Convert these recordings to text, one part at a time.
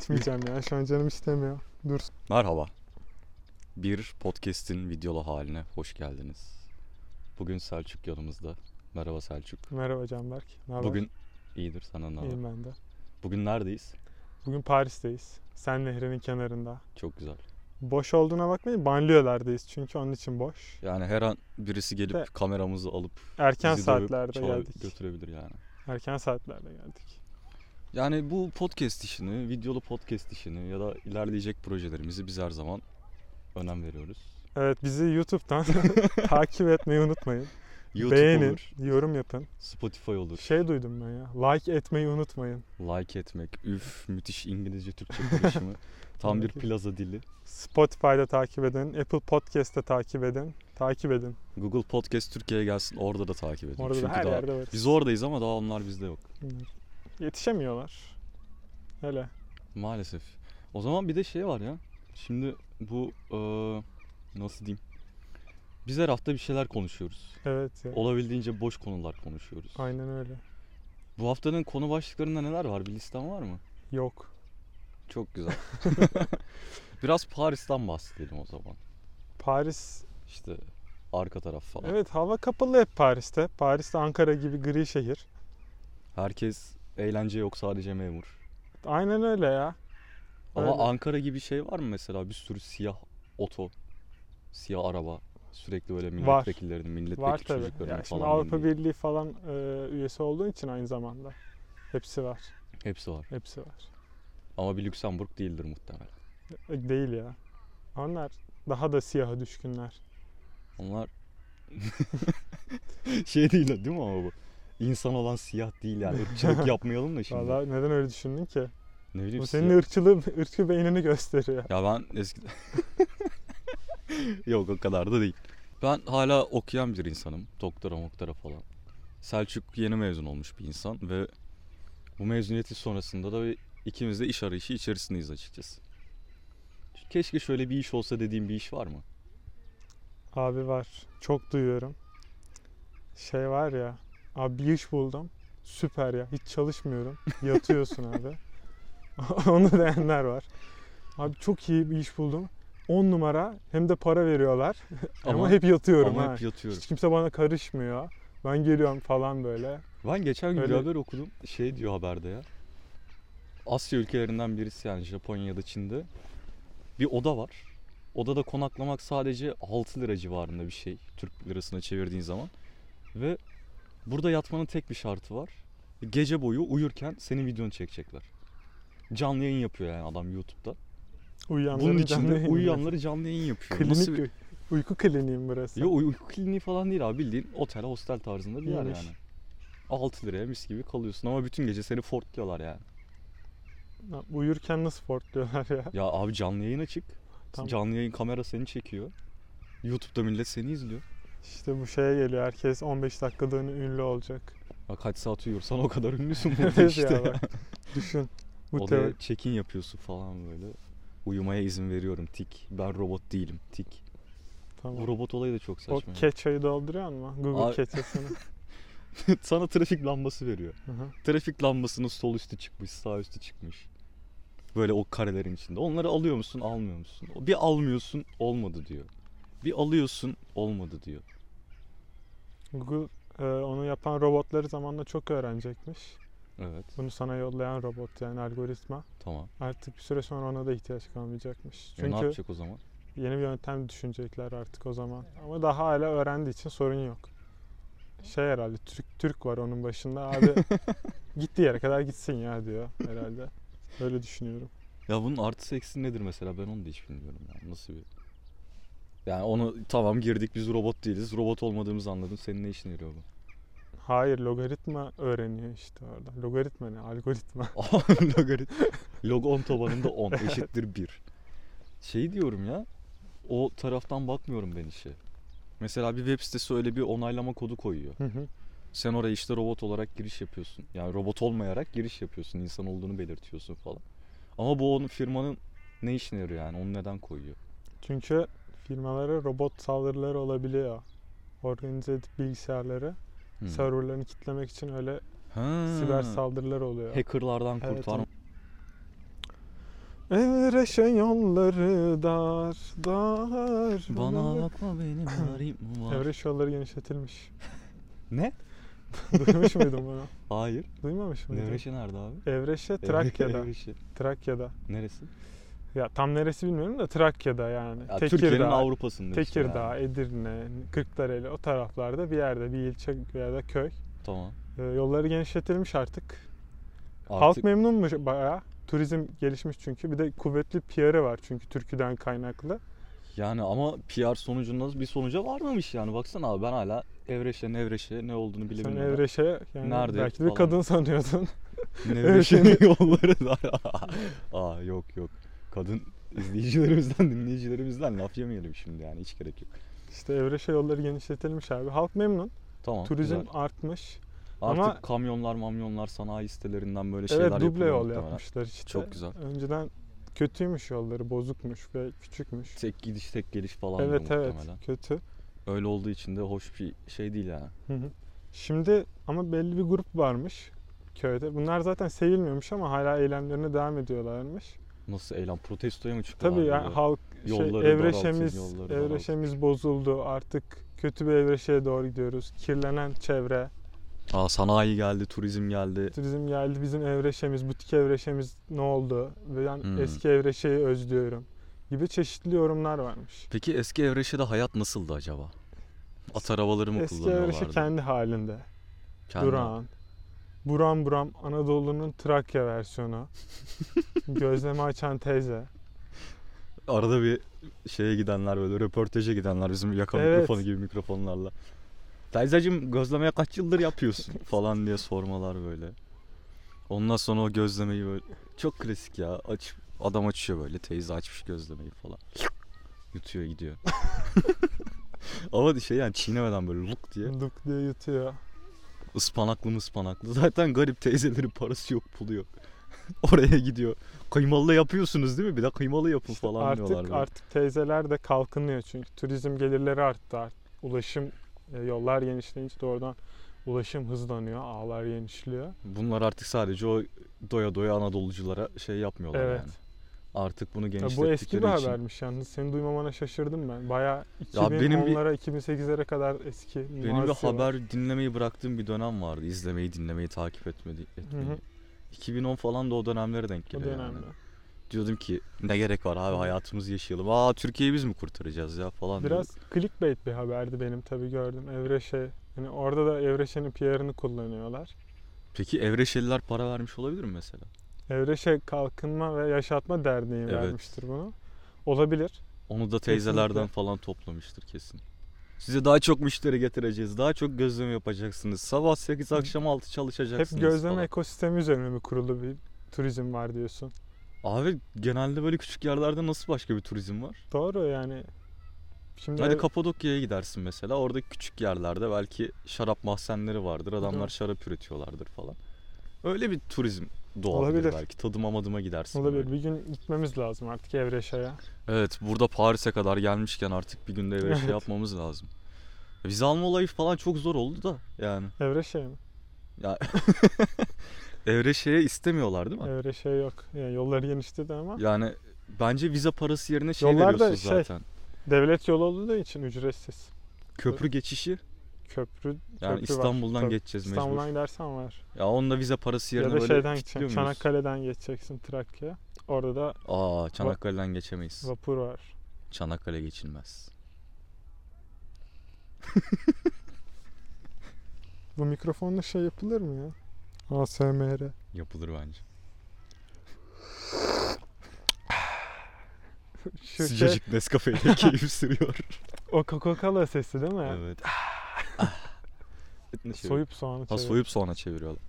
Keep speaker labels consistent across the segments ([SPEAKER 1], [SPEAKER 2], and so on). [SPEAKER 1] İçmeyeceğim ya. Şu an canım istemiyor. Dur.
[SPEAKER 2] Merhaba. Bir podcast'in videolu haline hoş geldiniz. Bugün Selçuk yanımızda. Merhaba Selçuk.
[SPEAKER 1] Merhaba Canberk. Ne haber?
[SPEAKER 2] Bugün iyidir sana ne haber?
[SPEAKER 1] İyiyim ben de.
[SPEAKER 2] Bugün neredeyiz?
[SPEAKER 1] Bugün Paris'teyiz. Sen nehrinin kenarında.
[SPEAKER 2] Çok güzel.
[SPEAKER 1] Boş olduğuna bakmayın. Banliyölerdeyiz çünkü onun için boş.
[SPEAKER 2] Yani her an birisi gelip
[SPEAKER 1] Ve-
[SPEAKER 2] kameramızı alıp
[SPEAKER 1] Erken
[SPEAKER 2] bizi dövüp
[SPEAKER 1] saatlerde
[SPEAKER 2] çağır-
[SPEAKER 1] geldik.
[SPEAKER 2] götürebilir yani.
[SPEAKER 1] Erken saatlerde geldik.
[SPEAKER 2] Yani bu podcast işini, videolu podcast işini ya da ilerleyecek projelerimizi biz her zaman önem veriyoruz.
[SPEAKER 1] Evet bizi YouTube'dan takip etmeyi unutmayın.
[SPEAKER 2] YouTube
[SPEAKER 1] Beğenin,
[SPEAKER 2] olur,
[SPEAKER 1] yorum yapın.
[SPEAKER 2] Spotify olur.
[SPEAKER 1] Şey duydum ben ya. Like etmeyi unutmayın.
[SPEAKER 2] Like etmek, üf müthiş İngilizce Türkçe karışımı. Tam bir
[SPEAKER 1] Peki.
[SPEAKER 2] plaza dili.
[SPEAKER 1] Spotify'da takip edin. Apple Podcast'te takip edin. Takip edin.
[SPEAKER 2] Google Podcast Türkiye'ye gelsin orada da takip edin.
[SPEAKER 1] Orada da
[SPEAKER 2] Çünkü
[SPEAKER 1] her
[SPEAKER 2] daha-
[SPEAKER 1] yerde varız.
[SPEAKER 2] Biz oradayız ama daha onlar bizde yok.
[SPEAKER 1] Yetişemiyorlar. Hele.
[SPEAKER 2] Maalesef. O zaman bir de şey var ya. Şimdi bu eee, nasıl diyeyim? Biz her hafta bir şeyler konuşuyoruz.
[SPEAKER 1] Evet ya.
[SPEAKER 2] Olabildiğince boş konular konuşuyoruz.
[SPEAKER 1] Aynen öyle.
[SPEAKER 2] Bu haftanın konu başlıklarında neler var? Bir listen var mı?
[SPEAKER 1] Yok.
[SPEAKER 2] Çok güzel. Biraz Paris'ten bahsedelim o zaman.
[SPEAKER 1] Paris.
[SPEAKER 2] İşte arka taraf falan.
[SPEAKER 1] Evet hava kapalı hep Paris'te. Paris'te Ankara gibi gri şehir.
[SPEAKER 2] Herkes eğlence yok sadece memur.
[SPEAKER 1] Aynen öyle ya.
[SPEAKER 2] Ama
[SPEAKER 1] Öyle.
[SPEAKER 2] Ankara gibi şey var mı mesela bir sürü siyah oto, siyah araba sürekli böyle milletvekillerinin,
[SPEAKER 1] Var
[SPEAKER 2] milletvekili
[SPEAKER 1] tabii.
[SPEAKER 2] çocuklarının
[SPEAKER 1] Ya şimdi
[SPEAKER 2] falan
[SPEAKER 1] Avrupa
[SPEAKER 2] bindiği.
[SPEAKER 1] Birliği falan e, üyesi olduğu için aynı zamanda. Hepsi var.
[SPEAKER 2] Hepsi var.
[SPEAKER 1] Hepsi var.
[SPEAKER 2] Ama bir Lüksemburg değildir muhtemelen.
[SPEAKER 1] E, Değil ya. Onlar daha da siyaha düşkünler.
[SPEAKER 2] Onlar şey değil değil mi ama bu? İnsan olan siyah değil yani. Irkçılık yapmayalım da şimdi.
[SPEAKER 1] Valla neden öyle düşündün ki?
[SPEAKER 2] ne bileyim
[SPEAKER 1] Bu
[SPEAKER 2] siyah-
[SPEAKER 1] senin ırkçılığı, ırkçı beynini gösteriyor.
[SPEAKER 2] Ya ben eskiden... Yok o kadar da değil. Ben hala okuyan bir insanım. Doktora moktora falan. Selçuk yeni mezun olmuş bir insan ve bu mezuniyeti sonrasında da bir- ikimiz de iş arayışı içerisindeyiz açıkçası. Keşke şöyle bir iş olsa dediğim bir iş var mı?
[SPEAKER 1] Abi var. Çok duyuyorum. Şey var ya. Abi bir iş buldum. Süper ya. Hiç çalışmıyorum. Yatıyorsun abi. Onu diyenler var. Abi çok iyi bir iş buldum. 10 numara hem de para veriyorlar. Ama, hep yatıyorum
[SPEAKER 2] ama
[SPEAKER 1] ha.
[SPEAKER 2] hep yatıyorum.
[SPEAKER 1] Hiç kimse bana karışmıyor. Ben geliyorum falan böyle.
[SPEAKER 2] Ben geçen gün
[SPEAKER 1] Öyle-
[SPEAKER 2] bir haber okudum. Şey diyor haberde ya. Asya ülkelerinden birisi yani Japonya ya da Çin'de bir oda var. Odada konaklamak sadece 6 lira civarında bir şey. Türk lirasına çevirdiğin zaman. Ve burada yatmanın tek bir şartı var. Gece boyu uyurken senin videonu çekecekler. Canlı yayın yapıyor yani adam YouTube'da.
[SPEAKER 1] Uyuyanların
[SPEAKER 2] Bunun
[SPEAKER 1] canlı
[SPEAKER 2] içinde
[SPEAKER 1] yayını.
[SPEAKER 2] uyuyanları canlı yayın yapıyor.
[SPEAKER 1] Klinik
[SPEAKER 2] Nasıl bir...
[SPEAKER 1] uy- uyku kliniğim burası.
[SPEAKER 2] Yo, uyku kliniği falan değil abi bildiğin otel hostel tarzında bir yer
[SPEAKER 1] İyiymiş.
[SPEAKER 2] yani. 6 liraya mis gibi kalıyorsun ama bütün gece seni fortluyorlar yani.
[SPEAKER 1] Ya, Uyurken nasıl fortluyorlar ya.
[SPEAKER 2] Ya abi canlı yayın açık.
[SPEAKER 1] Tamam.
[SPEAKER 2] Canlı yayın kamera seni çekiyor. YouTube'da millet seni izliyor.
[SPEAKER 1] İşte bu şeye geliyor. Herkes 15 dakikalığına ünlü olacak.
[SPEAKER 2] Ya kaç saat uyuyorsan o kadar ünlüsün
[SPEAKER 1] Evet
[SPEAKER 2] burada işte.
[SPEAKER 1] ya
[SPEAKER 2] ya.
[SPEAKER 1] bak. Düşün. Bu teori.
[SPEAKER 2] Odaya check-in yapıyorsun falan böyle. Uyumaya izin veriyorum tik. Ben robot değilim tik. Bu
[SPEAKER 1] Tamam.
[SPEAKER 2] robot olayı da çok
[SPEAKER 1] O
[SPEAKER 2] saçma. ya.
[SPEAKER 1] keçeyi dolduruyor mu? Google
[SPEAKER 2] Abi-
[SPEAKER 1] keçesini.
[SPEAKER 2] Sana trafik lambası veriyor.
[SPEAKER 1] Hı hı.
[SPEAKER 2] Trafik lambasının sol üstü çıkmış, sağ üstü çıkmış. Böyle o karelerin içinde. Onları alıyor musun, almıyor musun? Bir almıyorsun, olmadı diyor. Bir alıyorsun, olmadı diyor.
[SPEAKER 1] Google e, onu yapan robotları zamanla çok öğrenecekmiş.
[SPEAKER 2] Evet,
[SPEAKER 1] Bunu sana yollayan robot yani algoritma.
[SPEAKER 2] tamam.
[SPEAKER 1] Artık bir süre sonra ona da ihtiyaç kalmayacakmış.
[SPEAKER 2] E ne
[SPEAKER 1] Çünkü
[SPEAKER 2] yapacak o zaman?
[SPEAKER 1] yeni bir yöntem düşünecekler artık o zaman. Ama daha hala öğrendiği için sorun yok. Şey herhalde Türk Türk var onun başında. Abi gittiği yere kadar gitsin ya diyor herhalde. Öyle düşünüyorum.
[SPEAKER 2] Ya bunun artısı eksi nedir mesela ben onu da hiç bilmiyorum ya. Nasıl bir... Yani onu tamam girdik biz robot değiliz. Robot olmadığımızı anladım. Senin ne işine yarıyor bu?
[SPEAKER 1] Hayır logaritma öğreniyor işte orada. Logaritma ne? Algoritma.
[SPEAKER 2] Logarit. Log 10 tabanında 10 eşittir 1. Şey diyorum ya. O taraftan bakmıyorum ben işe. Mesela bir web sitesi öyle bir onaylama kodu koyuyor.
[SPEAKER 1] Hı hı.
[SPEAKER 2] Sen oraya işte robot olarak giriş yapıyorsun. Yani robot olmayarak giriş yapıyorsun. insan olduğunu belirtiyorsun falan. Ama bu onun firmanın ne işine yarıyor yani? Onu neden koyuyor?
[SPEAKER 1] Çünkü firmalara robot saldırıları olabiliyor. Organize edip bilgisayarları,
[SPEAKER 2] Hmm.
[SPEAKER 1] serverlarını kitlemek için öyle
[SPEAKER 2] Ha.
[SPEAKER 1] Siber saldırılar oluyor.
[SPEAKER 2] Hackerlardan
[SPEAKER 1] Evet,
[SPEAKER 2] kurtarma.
[SPEAKER 1] Evreşe yolları dar dar.
[SPEAKER 2] Bana bakma benim garip mi var?
[SPEAKER 1] Evreş yolları genişletilmiş.
[SPEAKER 2] Ne?
[SPEAKER 1] Duymuş muydun bunu?
[SPEAKER 2] Hayır.
[SPEAKER 1] Duymamış mıydın?
[SPEAKER 2] Nevreşi nerede abi?
[SPEAKER 1] Evreşe Trakya'da.
[SPEAKER 2] Nevreşi.
[SPEAKER 1] Trakya'da.
[SPEAKER 2] Neresi?
[SPEAKER 1] Ya tam neresi bilmiyorum da Trakya'da yani.
[SPEAKER 2] Ya, Türkiye'nin
[SPEAKER 1] Tekirdağ,
[SPEAKER 2] Avrupa'sında işte
[SPEAKER 1] Tekirdağ,
[SPEAKER 2] yani.
[SPEAKER 1] Edirne, Kırklareli o taraflarda bir yerde bir ilçe ya da köy.
[SPEAKER 2] Tamam.
[SPEAKER 1] Ee, yolları genişletilmiş artık. Halk
[SPEAKER 2] Artık
[SPEAKER 1] memnun mu bayağı? Turizm gelişmiş çünkü. Bir de kuvvetli PR'ı var çünkü türküden kaynaklı.
[SPEAKER 2] yani ama PR sonucunda bir sonuca varmamış yani. Baksana abi ben hala Evreş'e Nevreş'e ne olduğunu bile
[SPEAKER 1] Sen
[SPEAKER 2] bilmiyorum.
[SPEAKER 1] Evreş'e yani
[SPEAKER 2] Nerede
[SPEAKER 1] belki de bir
[SPEAKER 2] falan.
[SPEAKER 1] kadın sanıyordun.
[SPEAKER 2] Nevreş'in yolları da. Aa yok yok. Kadın izleyicilerimizden, dinleyicilerimizden laf yemeyelim şimdi yani hiç gerek yok.
[SPEAKER 1] işte Evreş'e yolları genişletilmiş abi. Halk memnun.
[SPEAKER 2] Tamam.
[SPEAKER 1] Turizm
[SPEAKER 2] güzel.
[SPEAKER 1] artmış.
[SPEAKER 2] Artık
[SPEAKER 1] ama-
[SPEAKER 2] kamyonlar, mamyonlar sanayi sitelerinden böyle şeyler
[SPEAKER 1] Evet duble
[SPEAKER 2] yapılıyor
[SPEAKER 1] yol
[SPEAKER 2] muhtemelen.
[SPEAKER 1] yapmışlar işte.
[SPEAKER 2] Çok güzel.
[SPEAKER 1] Önceden kötüymüş yolları, bozukmuş ve küçükmüş.
[SPEAKER 2] Tek gidiş, tek geliş falan evet,
[SPEAKER 1] Evet evet
[SPEAKER 2] muhtemelen.
[SPEAKER 1] kötü.
[SPEAKER 2] Öyle olduğu için de hoş bir şey değil yani.
[SPEAKER 1] Hı hı. Şimdi ama belli bir grup varmış köyde. Bunlar zaten sevilmiyormuş ama hala eylemlerine devam ediyorlarmış.
[SPEAKER 2] Nasıl eylem? Protestoya mı çıktılar?
[SPEAKER 1] Tabii yani
[SPEAKER 2] böyle?
[SPEAKER 1] halk
[SPEAKER 2] Yolları
[SPEAKER 1] şey,
[SPEAKER 2] daraltın,
[SPEAKER 1] evreşemiz
[SPEAKER 2] yolları daraltın.
[SPEAKER 1] evreşemiz bozuldu. Artık kötü bir evreşeye doğru gidiyoruz. Kirlenen çevre,
[SPEAKER 2] Aa, sanayi geldi, turizm geldi.
[SPEAKER 1] turizm geldi. Bizim evreşemiz, butik evreşemiz ne oldu? Ve Ben
[SPEAKER 2] Hmm.
[SPEAKER 1] eski evreşeyi özlüyorum gibi çeşitli yorumlar varmış.
[SPEAKER 2] Peki eski Evreşe'de hayat nasıldı acaba? At arabaları mı
[SPEAKER 1] Eski
[SPEAKER 2] kullanıyorlardı?
[SPEAKER 1] evreşe kendi halinde.
[SPEAKER 2] Kendi-
[SPEAKER 1] Durağan. Buram buram Anadolu'nun Trakya versiyonu. Gözleme açan teyze.
[SPEAKER 2] Arada bir şeye gidenler böyle röportaja gidenler bizim yaka
[SPEAKER 1] Evet.
[SPEAKER 2] mikrofonu gibi mikrofonlarla. Teyzeciğim gözlemeye kaç yıldır yapıyorsun falan diye sormalar böyle. Ondan sonra o gözlemeyi böyle çok klasik ya. Aç, adam açıyor böyle teyze açmış gözlemeyi falan. Yutuyor gidiyor. Ama şey yani çiğnemeden böyle luk diye.
[SPEAKER 1] Luk diye yutuyor.
[SPEAKER 2] Ispanaklı mı ıspanaklı. Zaten garip teyzelerin parası yok pulu yok. Oraya gidiyor. Kıymalı yapıyorsunuz değil mi? Bir de kıymalı yapın
[SPEAKER 1] İşte
[SPEAKER 2] falan
[SPEAKER 1] artık
[SPEAKER 2] diyorlar. böyle.
[SPEAKER 1] artık teyzeler de kalkınıyor çünkü turizm gelirleri arttı. art- Ulaşım e, yollar genişleyince doğrudan ulaşım hızlanıyor, ağlar genişliyor.
[SPEAKER 2] Bunlar artık sadece o doya doya Anadoluculara şey yapmıyorlar
[SPEAKER 1] Evet.
[SPEAKER 2] yani. Artık bunu
[SPEAKER 1] Ya bu
[SPEAKER 2] genişlettikleri
[SPEAKER 1] eski bir
[SPEAKER 2] için.
[SPEAKER 1] habermiş yalnız. Seni duymamana şaşırdım ben. Bayağı
[SPEAKER 2] Ya benim bir-
[SPEAKER 1] 2010'lara 2008'lere kadar eski.
[SPEAKER 2] Benim bir
[SPEAKER 1] muhasebe.
[SPEAKER 2] haber dinlemeyi bıraktığım bir dönem vardı. İzlemeyi, dinlemeyi, takip etmedi, etmeyi.
[SPEAKER 1] hı.
[SPEAKER 2] 2010 falan da o dönemlere denk
[SPEAKER 1] o
[SPEAKER 2] geliyor yani.
[SPEAKER 1] dönemde.
[SPEAKER 2] Diyordum ki ne gerek var abi hayatımızı yaşayalım. Aa Türkiye'yi biz mi kurtaracağız ya falan
[SPEAKER 1] Biraz clickbait bir haberdi benim tabii gördüm. Evreşe. Yani orada da Evreşe'nin PR'ını kullanıyorlar.
[SPEAKER 2] Peki Evreşeliler para vermiş olabilir mi mesela?
[SPEAKER 1] Evreşe Kalkınma ve Yaşatma Derneği
[SPEAKER 2] Evet.
[SPEAKER 1] vermiştir bunu. Olabilir.
[SPEAKER 2] Onu da teyzelerden
[SPEAKER 1] Kesinlikle.
[SPEAKER 2] falan toplamıştır kesin. Size daha çok müşteri getireceğiz. Daha çok gözleme yapacaksınız. Sabah 8 akşam 6 çalışacaksınız.
[SPEAKER 1] Hep gözleme
[SPEAKER 2] falan.
[SPEAKER 1] ekosistemi üzerine mi kurulu bir turizm var diyorsun.
[SPEAKER 2] Abi genelde böyle küçük yerlerde nasıl başka bir turizm var?
[SPEAKER 1] Doğru yani. Şimdi
[SPEAKER 2] Hadi
[SPEAKER 1] ev-
[SPEAKER 2] Kapadokya'ya gidersin mesela. Orada küçük yerlerde belki şarap mahzenleri vardır. Adamlar
[SPEAKER 1] Evet.
[SPEAKER 2] şarap üretiyorlardır falan. Öyle bir turizm doğabilir
[SPEAKER 1] Olabilir.
[SPEAKER 2] belki. Tadıma madıma gidersin.
[SPEAKER 1] olabilir.
[SPEAKER 2] böyle.
[SPEAKER 1] Bir gün gitmemiz lazım artık Evreşe'ye.
[SPEAKER 2] Evet burada Paris'e kadar gelmişken artık bir günde evre şey
[SPEAKER 1] Evet.
[SPEAKER 2] yapmamız lazım. Vize alma olayı falan çok zor oldu da yani.
[SPEAKER 1] Evreşe mi?
[SPEAKER 2] Ya evre şeye istemiyorlar değil mi?
[SPEAKER 1] Evreşe yok. Yani yolları genişledi ama.
[SPEAKER 2] Yani bence vize parası yerine şey
[SPEAKER 1] Yollar da
[SPEAKER 2] veriyorsunuz
[SPEAKER 1] şey-
[SPEAKER 2] zaten.
[SPEAKER 1] Devlet yolu olduğu için ücretsiz.
[SPEAKER 2] Köprü geçişi
[SPEAKER 1] Köprü
[SPEAKER 2] yani
[SPEAKER 1] Köprü var,
[SPEAKER 2] İstanbul'dan
[SPEAKER 1] tabii.
[SPEAKER 2] geçeceğiz mecbur.
[SPEAKER 1] İstanbul'dan gidersen var.
[SPEAKER 2] Ya onunla vize parası yerine
[SPEAKER 1] ya da
[SPEAKER 2] böyle
[SPEAKER 1] şeyden geçeceksin.
[SPEAKER 2] kilitliyor muyuz?
[SPEAKER 1] Çanakkale'den geçeceksin Trakya'ya. Orada da
[SPEAKER 2] Aa Çanakkale'den geçemeyiz.
[SPEAKER 1] vapur var.
[SPEAKER 2] Çanakkale geçilmez.
[SPEAKER 1] Bu mikrofonla şey yapılır mı ya? ASMR.
[SPEAKER 2] Yapılır bence.
[SPEAKER 1] Şu şey,
[SPEAKER 2] Sıcacık Nescafe ile keyif sürüyor.
[SPEAKER 1] o Coca-Cola sesi değil mi? Hani
[SPEAKER 2] evet. Ne çeviriyor?
[SPEAKER 1] Ah. Soyup soğanı
[SPEAKER 2] Ha
[SPEAKER 1] çevir.
[SPEAKER 2] soyup soğana çeviriyorlar.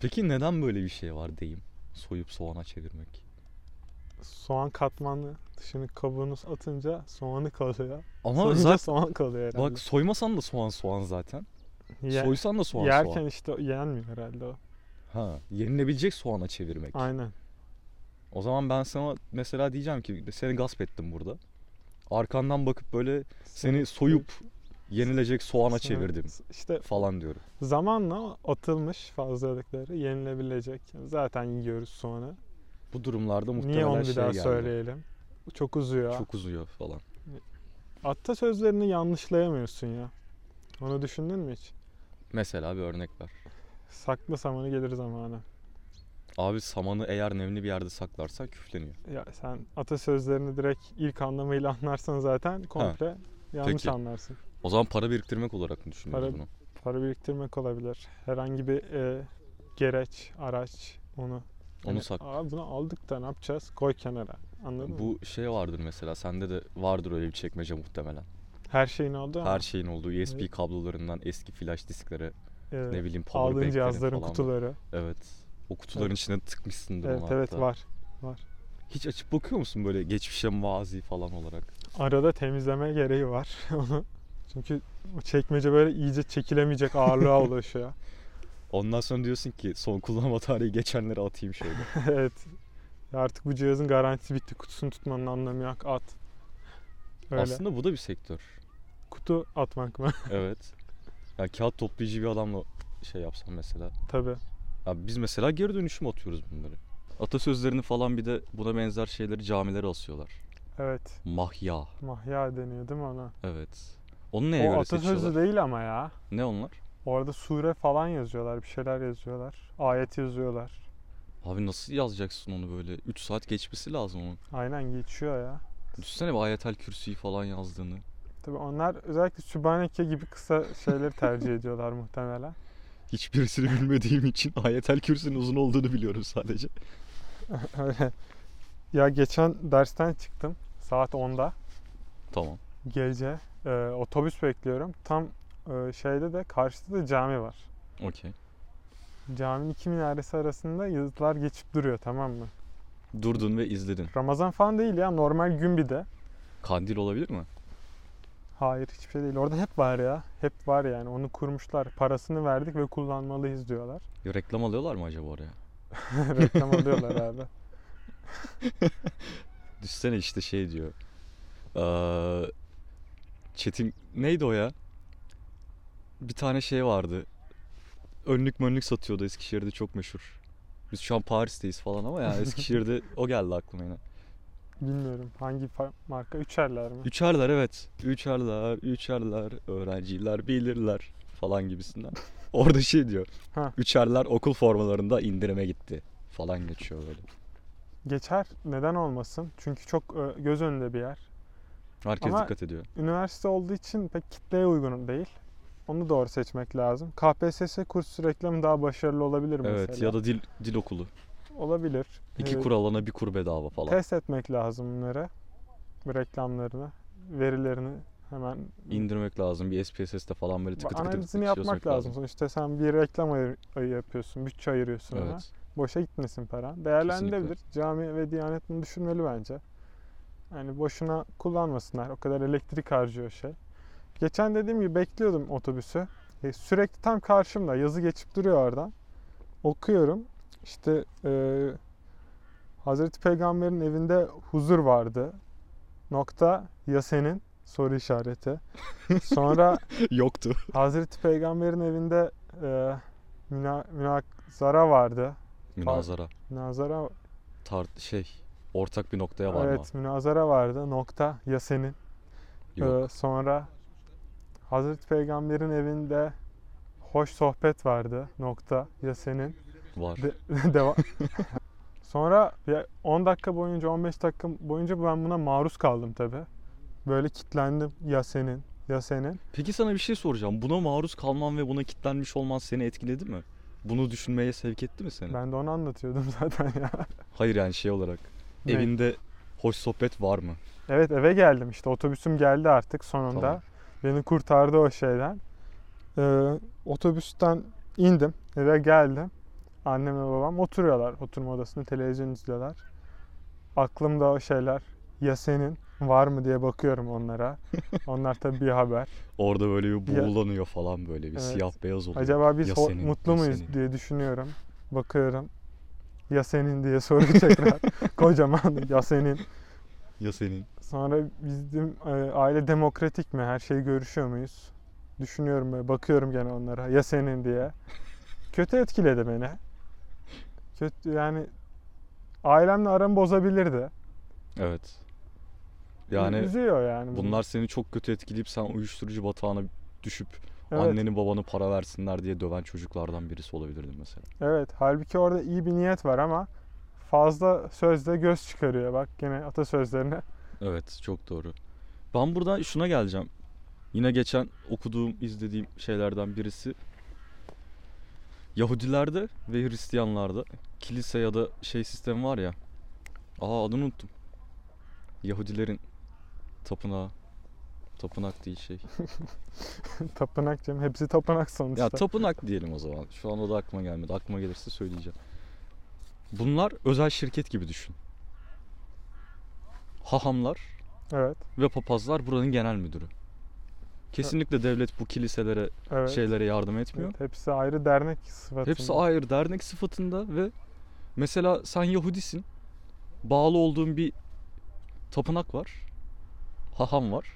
[SPEAKER 2] Peki neden böyle bir şey var deyim? Soyup soğana çevirmek.
[SPEAKER 1] Soğan katmanlı. Dışını kabuğunu atınca soğanı kalıyor.
[SPEAKER 2] Ama
[SPEAKER 1] Soyunca
[SPEAKER 2] zaten
[SPEAKER 1] soğan kalıyor herhalde.
[SPEAKER 2] bak soymasan da soğan soğan zaten.
[SPEAKER 1] Ye-
[SPEAKER 2] Soysan da soğan
[SPEAKER 1] yerken
[SPEAKER 2] soğan.
[SPEAKER 1] işte yenmiyor herhalde o.
[SPEAKER 2] Ha, yenilebilecek soğana çevirmek.
[SPEAKER 1] Aynen.
[SPEAKER 2] O zaman ben sana mesela diyeceğim ki seni gasp ettim burada. Arkandan bakıp böyle seni soyup yenilecek soğana
[SPEAKER 1] Sonra
[SPEAKER 2] çevirdim
[SPEAKER 1] İşte
[SPEAKER 2] falan diyorum.
[SPEAKER 1] zamanla atılmış fazlalıkları yenilebilecek. Zaten yiyoruz soğanı.
[SPEAKER 2] Bu durumlarda muhtemelen
[SPEAKER 1] Niye onu bir
[SPEAKER 2] şey
[SPEAKER 1] daha
[SPEAKER 2] geldi.
[SPEAKER 1] söyleyelim? Çok uzuyor.
[SPEAKER 2] Çok uzuyor falan.
[SPEAKER 1] Atasözlerini yanlışlayamıyorsun ya. Onu düşündün mü hiç?
[SPEAKER 2] Mesela bir örnek ver.
[SPEAKER 1] Sakla samanı gelir zamanı.
[SPEAKER 2] Abi samanı eğer nemli bir yerde saklarsan küfleniyor.
[SPEAKER 1] Ya sen atasözlerini direkt ilk anlamıyla anlarsan zaten komple yanlış
[SPEAKER 2] Peki.
[SPEAKER 1] anlarsın.
[SPEAKER 2] O zaman para biriktirmek olarak mı düşünüyoruz
[SPEAKER 1] Para-
[SPEAKER 2] bunu?
[SPEAKER 1] Para biriktirmek olabilir. Herhangi bir e, gereç, araç onu.
[SPEAKER 2] Onu
[SPEAKER 1] Hani,
[SPEAKER 2] sakla.
[SPEAKER 1] Aa, bunu aldık da ne yapacağız? Koy kenara. Anladın mı?
[SPEAKER 2] Bu şey vardır mesela sende de vardır öyle bir çekmece muhtemelen.
[SPEAKER 1] Her şeyin oldu ama
[SPEAKER 2] Her şeyin olduğu USB
[SPEAKER 1] Evet.
[SPEAKER 2] kablolarından eski flash disklere
[SPEAKER 1] e,
[SPEAKER 2] ne bileyim power
[SPEAKER 1] aldığın
[SPEAKER 2] bank'lere
[SPEAKER 1] cihazların
[SPEAKER 2] falan var.
[SPEAKER 1] kutuları.
[SPEAKER 2] Evet. O kutuların
[SPEAKER 1] Evet.
[SPEAKER 2] içine tıkmışsındır
[SPEAKER 1] Evet
[SPEAKER 2] onu
[SPEAKER 1] evet
[SPEAKER 2] hatta.
[SPEAKER 1] var.
[SPEAKER 2] Hiç açıp bakıyor musun böyle geçmişe mazi falan olarak?
[SPEAKER 1] Arada temizleme gereği var onu. Çünkü o çekmece böyle iyice çekilemeyecek ağırlığa ulaşıyor.
[SPEAKER 2] Ondan sonra diyorsun ki son kullanma tarihi geçenleri atayım şöyle.
[SPEAKER 1] evet. Ya Artık bu cihazın garantisi bitti. Kutusunu tutmanın anlamı yok. At. Öyle.
[SPEAKER 2] Aslında bu da bir sektör.
[SPEAKER 1] Kutu atmak mı?
[SPEAKER 2] Evet. Ya kağıt toplayıcı bir adamla şey yapsam mesela.
[SPEAKER 1] Tabii.
[SPEAKER 2] Ya biz mesela geri dönüşüm atıyoruz bunları. Atasözlerini falan bir de buna benzer şeyleri camilere asıyorlar.
[SPEAKER 1] Evet.
[SPEAKER 2] Mahya.
[SPEAKER 1] Mahya deniyor değil mi ona?
[SPEAKER 2] Evet. Onu neye
[SPEAKER 1] o
[SPEAKER 2] göre
[SPEAKER 1] atasözü
[SPEAKER 2] seçiyorlar?
[SPEAKER 1] değil ama ya.
[SPEAKER 2] Ne onlar?
[SPEAKER 1] Orada sure falan yazıyorlar. Bir şeyler yazıyorlar. Ayet yazıyorlar.
[SPEAKER 2] Abi nasıl yazacaksın onu böyle? 3 saat geçmesi lazım onun.
[SPEAKER 1] Aynen geçiyor ya.
[SPEAKER 2] Düşünsene bir ayetel kürsüyü falan yazdığını.
[SPEAKER 1] Tabii onlar özellikle Sübhaneke gibi kısa şeyleri tercih ediyorlar muhtemelen.
[SPEAKER 2] Hiçbirisini bilmediğim için ayetel kürsünün uzun olduğunu biliyorum sadece.
[SPEAKER 1] Öyle. Ya geçen dersten çıktım. Saat 10'da.
[SPEAKER 2] Tamam.
[SPEAKER 1] Gece. e, otobüs bekliyorum. Tam e, şeyde de karşıda da cami var.
[SPEAKER 2] Okey.
[SPEAKER 1] Caminin iki minaresi arasında yıldızlar geçip duruyor tamam mı?
[SPEAKER 2] Durdun ve izledin.
[SPEAKER 1] Ramazan falan değil ya normal gün bir de.
[SPEAKER 2] Kandil olabilir mi?
[SPEAKER 1] Hayır hiçbir şey değil. Orada hep var ya. Hep var yani. Onu kurmuşlar. Parasını verdik ve kullanmalıyız diyorlar.
[SPEAKER 2] Ya reklam alıyorlar mı acaba oraya?
[SPEAKER 1] Reklam alıyorlar herhalde.
[SPEAKER 2] Düşsene işte şey diyor. Eee Çetin neydi o ya? Bir tane şey vardı. Önlük mönlük satıyordu Eskişehir'de çok meşhur. Biz şu an Paris'teyiz falan ama yani Eskişehir'de o geldi aklıma yine.
[SPEAKER 1] Bilmiyorum hangi fa- marka. Üçerler mi?
[SPEAKER 2] Üçerler evet. Üçerler, üçerler, öğrenciler bilirler falan gibisinden. Orada şey diyor.
[SPEAKER 1] Ha.
[SPEAKER 2] Üçerler okul formalarında indirime gitti falan geçiyor böyle.
[SPEAKER 1] Geçer. Neden olmasın? Çünkü çok e, göz önünde bir yer.
[SPEAKER 2] Herkes
[SPEAKER 1] Ama-
[SPEAKER 2] dikkat ediyor.
[SPEAKER 1] Üniversite olduğu için pek kitleye uygun değil. Onu doğru seçmek lazım. KPSS kursu reklamı daha başarılı olabilir mesela.
[SPEAKER 2] Evet ya da dil dil okulu.
[SPEAKER 1] olabilir.
[SPEAKER 2] İki
[SPEAKER 1] Ee,
[SPEAKER 2] kur alana bir kur bedava falan.
[SPEAKER 1] Test etmek lazım bunları. Bu reklamlarını, verilerini hemen
[SPEAKER 2] indirmek lazım. Bir SPSS'te falan böyle tıkı tıkı tıkı
[SPEAKER 1] analizini
[SPEAKER 2] tıkı
[SPEAKER 1] yapmak
[SPEAKER 2] çözmek
[SPEAKER 1] lazım. Sonuçta sen bir reklam ayır- ayı yapıyorsun, bütçe ayırıyorsun ona.
[SPEAKER 2] Evet.
[SPEAKER 1] Boşa gitmesin paran. Değerlendirilebilir. Cami ve Diyanet bunu düşünmeli bence. Yani boşuna kullanmasınlar. O kadar elektrik harcıyor şey. Geçen dediğim gibi bekliyordum otobüsü. E, sürekli tam karşımda yazı geçip duruyor oradan. Okuyorum. İşte e, Hazreti Peygamber'in evinde huzur vardı. Nokta ya senin soru işareti. Sonra
[SPEAKER 2] Yoktu.
[SPEAKER 1] Hazreti Peygamber'in evinde e, müna, münazara vardı.
[SPEAKER 2] Münazara.
[SPEAKER 1] Münazara
[SPEAKER 2] Tart şey ortak bir noktaya varma.
[SPEAKER 1] Evet münazara vardı. Nokta ya senin.
[SPEAKER 2] Yok.
[SPEAKER 1] Ee, sonra Hazreti Peygamber'in evinde hoş sohbet vardı. Nokta ya senin.
[SPEAKER 2] var.
[SPEAKER 1] De- devam. sonra ya 10 dakika boyunca 15 dakika boyunca ben buna maruz kaldım tabi. Böyle kitlendim ya senin ya senin.
[SPEAKER 2] Peki sana bir şey soracağım. Buna maruz kalman ve buna kitlenmiş olman seni etkiledi mi? Bunu düşünmeye sevk etti mi seni?
[SPEAKER 1] Ben de onu anlatıyordum zaten ya.
[SPEAKER 2] Hayır yani şey olarak.
[SPEAKER 1] Ne?
[SPEAKER 2] Evinde hoş sohbet var mı?
[SPEAKER 1] Evet eve geldim işte otobüsüm geldi artık sonunda.
[SPEAKER 2] Tamam.
[SPEAKER 1] Beni kurtardı o şeyden. Ee, otobüsten indim eve geldim. Annem ve babam oturuyorlar oturma odasında televizyon izliyorlar. Aklımda o şeyler ya senin var mı diye bakıyorum onlara. Onlar tabii bir haber.
[SPEAKER 2] Orada böyle bir
[SPEAKER 1] Ya-
[SPEAKER 2] buğulanıyor falan böyle bir
[SPEAKER 1] Evet.
[SPEAKER 2] siyah beyaz oluyor.
[SPEAKER 1] Acaba biz
[SPEAKER 2] Ya
[SPEAKER 1] ho-
[SPEAKER 2] senin,
[SPEAKER 1] mutlu
[SPEAKER 2] ya
[SPEAKER 1] muyuz
[SPEAKER 2] senin.
[SPEAKER 1] diye düşünüyorum. Bakıyorum. Ya senin diye soru tekrar. Kocaman ya senin.
[SPEAKER 2] Ya senin.
[SPEAKER 1] Sonra bizim e, aile demokratik mi? Her şeyi görüşüyor muyuz? Düşünüyorum böyle bakıyorum gene onlara ya senin diye. Kötü etkiledi beni. Kötü yani ailemle aramı bozabilirdi.
[SPEAKER 2] Evet. Yani
[SPEAKER 1] Üzüyor yani.
[SPEAKER 2] bunlar seni çok kötü etkileyip sen uyuşturucu batağına düşüp
[SPEAKER 1] Evet.
[SPEAKER 2] annenin babanı para versinler diye döven çocuklardan birisi olabilirdin mesela.
[SPEAKER 1] Evet, halbuki orada iyi bir niyet var ama fazla sözde göz çıkarıyor. Bak gene atasözlerine.
[SPEAKER 2] Evet, çok doğru. Ben buradan şuna geleceğim. Yine geçen okuduğum, izlediğim şeylerden birisi Yahudilerde ve Hristiyanlarda kilise ya da şey sistemi var ya. Aa adını unuttum. Yahudilerin tapınağı. Tapınak değil şey.
[SPEAKER 1] tapınak canım. Hepsi tapınak sonuçta.
[SPEAKER 2] Ya tapınak diyelim o zaman. Şu an o da aklıma gelmedi. Aklıma gelirse söyleyeceğim. Bunlar özel şirket gibi düşün. Hahamlar
[SPEAKER 1] evet,
[SPEAKER 2] ve papazlar buranın genel müdürü. Kesinlikle devlet bu kiliselere,
[SPEAKER 1] evet.
[SPEAKER 2] şeylere yardım etmiyor.
[SPEAKER 1] Evet, hepsi ayrı dernek sıfatında.
[SPEAKER 2] Şey Hepsi ayrı dernek sıfatında ve mesela sen Yahudisin. Bağlı olduğun bir tapınak var. Haham var.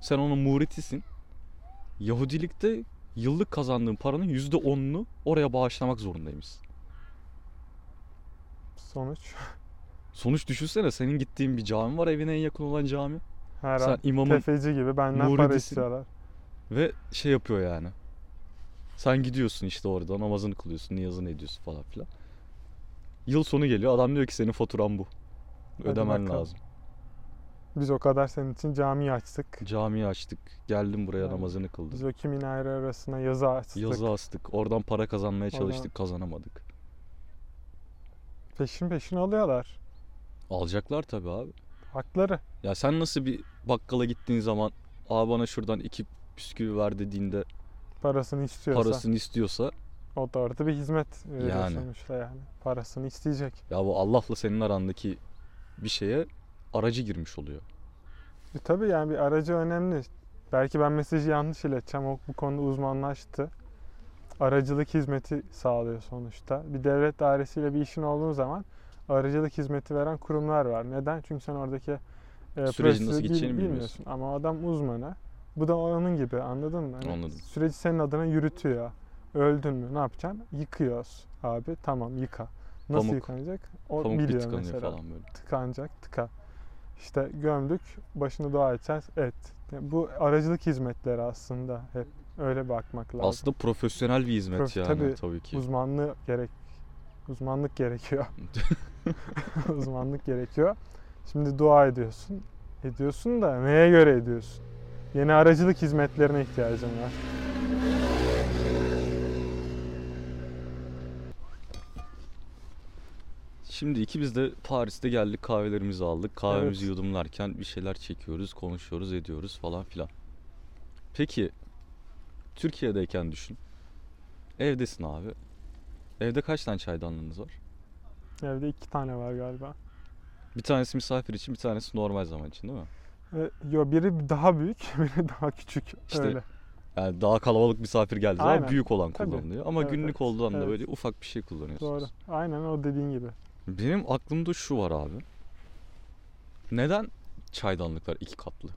[SPEAKER 2] Sen onun muritisin. Yahudilikte yıllık kazandığın paranın %10'unu oraya bağışlamak zorundaymışsın.
[SPEAKER 1] Sonuç
[SPEAKER 2] Sonuç düşünsene senin gittiğin bir cami var evine en yakın olan cami.
[SPEAKER 1] her
[SPEAKER 2] Sen
[SPEAKER 1] an
[SPEAKER 2] imamın
[SPEAKER 1] tefeci gibi benden para
[SPEAKER 2] muridisin.
[SPEAKER 1] istiyorlar.
[SPEAKER 2] Ve şey yapıyor yani. Sen gidiyorsun işte orada namazını kılıyorsun, niyazını ediyorsun falan filan. Yıl sonu geliyor adam diyor ki senin faturan bu.
[SPEAKER 1] Hadi
[SPEAKER 2] Ödemen
[SPEAKER 1] bakalım.
[SPEAKER 2] lazım.
[SPEAKER 1] Biz o kadar senin için cami açtık.
[SPEAKER 2] Camiyi açtık, geldin buraya
[SPEAKER 1] Aynen.
[SPEAKER 2] namazını kıldın.
[SPEAKER 1] Biz o kimin ayrı arasına yazı açtık.
[SPEAKER 2] Yazı astık, oradan para kazanmaya
[SPEAKER 1] Oradan-
[SPEAKER 2] çalıştık, kazanamadık.
[SPEAKER 1] Peşin peşin alıyorlar.
[SPEAKER 2] Alacaklar tabii abi.
[SPEAKER 1] Hakları.
[SPEAKER 2] Ya sen nasıl bir bakkala gittiğin zaman abi bana şuradan iki bisküvi ver dediğinde
[SPEAKER 1] Parasını istiyorsa.
[SPEAKER 2] parasını istiyorsa
[SPEAKER 1] O da orada bir hizmet veriyor
[SPEAKER 2] Yani.
[SPEAKER 1] sonuçta yani. Parasını isteyecek.
[SPEAKER 2] ya bu Allah'la senin arandaki bir şeye aracı girmiş oluyor.
[SPEAKER 1] E tabii yani bir aracı önemli. Belki ben mesajı yanlış ileteceğim. O bu konuda uzmanlaştı. Aracılık hizmeti sağlıyor sonuçta. Bir devlet dairesiyle bir işin olduğu zaman aracılık hizmeti veren kurumlar var. Neden? Çünkü sen oradaki e,
[SPEAKER 2] Sürecin
[SPEAKER 1] prosesi
[SPEAKER 2] nasıl
[SPEAKER 1] bil-
[SPEAKER 2] gideceğini bilmiyorsun.
[SPEAKER 1] Ama o adam uzmanı. Bu da onun gibi anladın mı? Hani
[SPEAKER 2] Anladım.
[SPEAKER 1] Süreci senin adına yürütüyor. Öldün mü ne yapacaksın? Yıkıyoruz abi tamam yıka. Nasıl
[SPEAKER 2] Pamuk.
[SPEAKER 1] yıkanacak? O
[SPEAKER 2] Pamuk bir
[SPEAKER 1] biliyor
[SPEAKER 2] tıkanıyor
[SPEAKER 1] mesela
[SPEAKER 2] falan böyle.
[SPEAKER 1] tıkanacak tıka. İşte gömdük, başını dua edeceğiz, et. Yani bu aracılık hizmetleri aslında hep öyle bakmak lazım.
[SPEAKER 2] Aslında profesyonel bir hizmet
[SPEAKER 1] Prof-
[SPEAKER 2] yani
[SPEAKER 1] tabii.
[SPEAKER 2] tabii, ki.
[SPEAKER 1] Uzmanlığı gerek, uzmanlık gerekiyor. uzmanlık gerekiyor. Şimdi dua ediyorsun. Ediyorsun da neye göre ediyorsun? Yeni aracılık hizmetlerine ihtiyacın var.
[SPEAKER 2] Şimdi iki biz de Paris'te geldik kahvelerimizi aldık. Kahvemizi
[SPEAKER 1] Evet.
[SPEAKER 2] yudumlarken bir şeyler çekiyoruz, konuşuyoruz, ediyoruz falan filan. Peki Türkiye'deyken düşün. Evdesin abi. Evde kaç tane çaydanlığınız var?
[SPEAKER 1] Evde iki tane var galiba.
[SPEAKER 2] Bir tanesi misafir için, bir tanesi normal zaman için değil mi?
[SPEAKER 1] Ve, yo biri daha büyük, biri daha küçük.
[SPEAKER 2] İşte
[SPEAKER 1] öyle.
[SPEAKER 2] Yani daha kalabalık misafir geldiği zaman
[SPEAKER 1] Aynen.
[SPEAKER 2] büyük olan
[SPEAKER 1] Tabii.
[SPEAKER 2] kullanılıyor. Ama
[SPEAKER 1] Evet,
[SPEAKER 2] günlük
[SPEAKER 1] evet.
[SPEAKER 2] olduğu anda
[SPEAKER 1] Evet.
[SPEAKER 2] böyle ufak bir şey kullanıyorsunuz.
[SPEAKER 1] Doğru. Aynen o dediğin gibi.
[SPEAKER 2] Benim aklımda şu var abi. Neden çaydanlıklar iki katlı?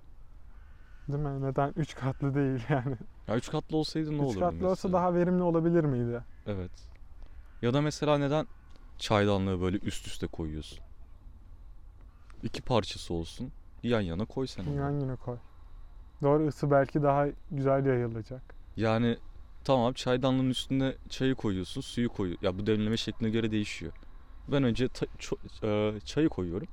[SPEAKER 1] Değil mi? Neden üç katlı değil yani?
[SPEAKER 2] Ya üç katlı olsaydı ne
[SPEAKER 1] Üç
[SPEAKER 2] olurdu
[SPEAKER 1] katlı olsa
[SPEAKER 2] mesela?
[SPEAKER 1] daha verimli olabilir miydi?
[SPEAKER 2] Evet. Ya da mesela neden çaydanlığı böyle üst üste koyuyorsun? İki parçası olsun. Yan yana koy sen onu.
[SPEAKER 1] Yan yana koy. Doğru ısı belki daha güzel yayılacak.
[SPEAKER 2] Yani tamam çaydanlığın üstüne çayı koyuyorsun, suyu koy. Ya bu demleme şekline göre değişiyor. Ben önce ta- ço- e, çayı koyuyorum.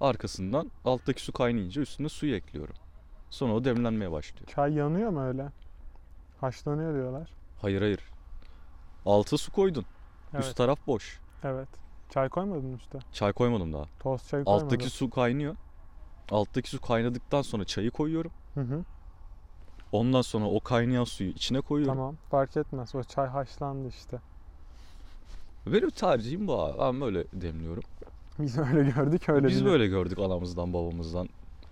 [SPEAKER 2] Arkasından alttaki su kaynayınca üstüne suyu ekliyorum. Sonra o demlenmeye başlıyor.
[SPEAKER 1] Çay yanıyor mu öyle? Haşlanıyor diyorlar.
[SPEAKER 2] Hayır hayır. Alta su koydun.
[SPEAKER 1] Evet.
[SPEAKER 2] Üst taraf boş.
[SPEAKER 1] Evet. Çay koymadın üstte.
[SPEAKER 2] Çay koymadım daha.
[SPEAKER 1] Toz çay koymadın.
[SPEAKER 2] Alttaki su kaynıyor. Alttaki su kaynadıktan sonra çayı koyuyorum.
[SPEAKER 1] Hı hı,
[SPEAKER 2] Ondan sonra o kaynayan suyu içine koyuyorum.
[SPEAKER 1] Tamam. Fark etmez. O çay haşlandı işte.
[SPEAKER 2] Benim tercihim bu abi. Ben böyle demliyorum.
[SPEAKER 1] Biz öyle gördük öyle
[SPEAKER 2] Biz
[SPEAKER 1] bile.
[SPEAKER 2] böyle gördük anamızdan, babamızdan,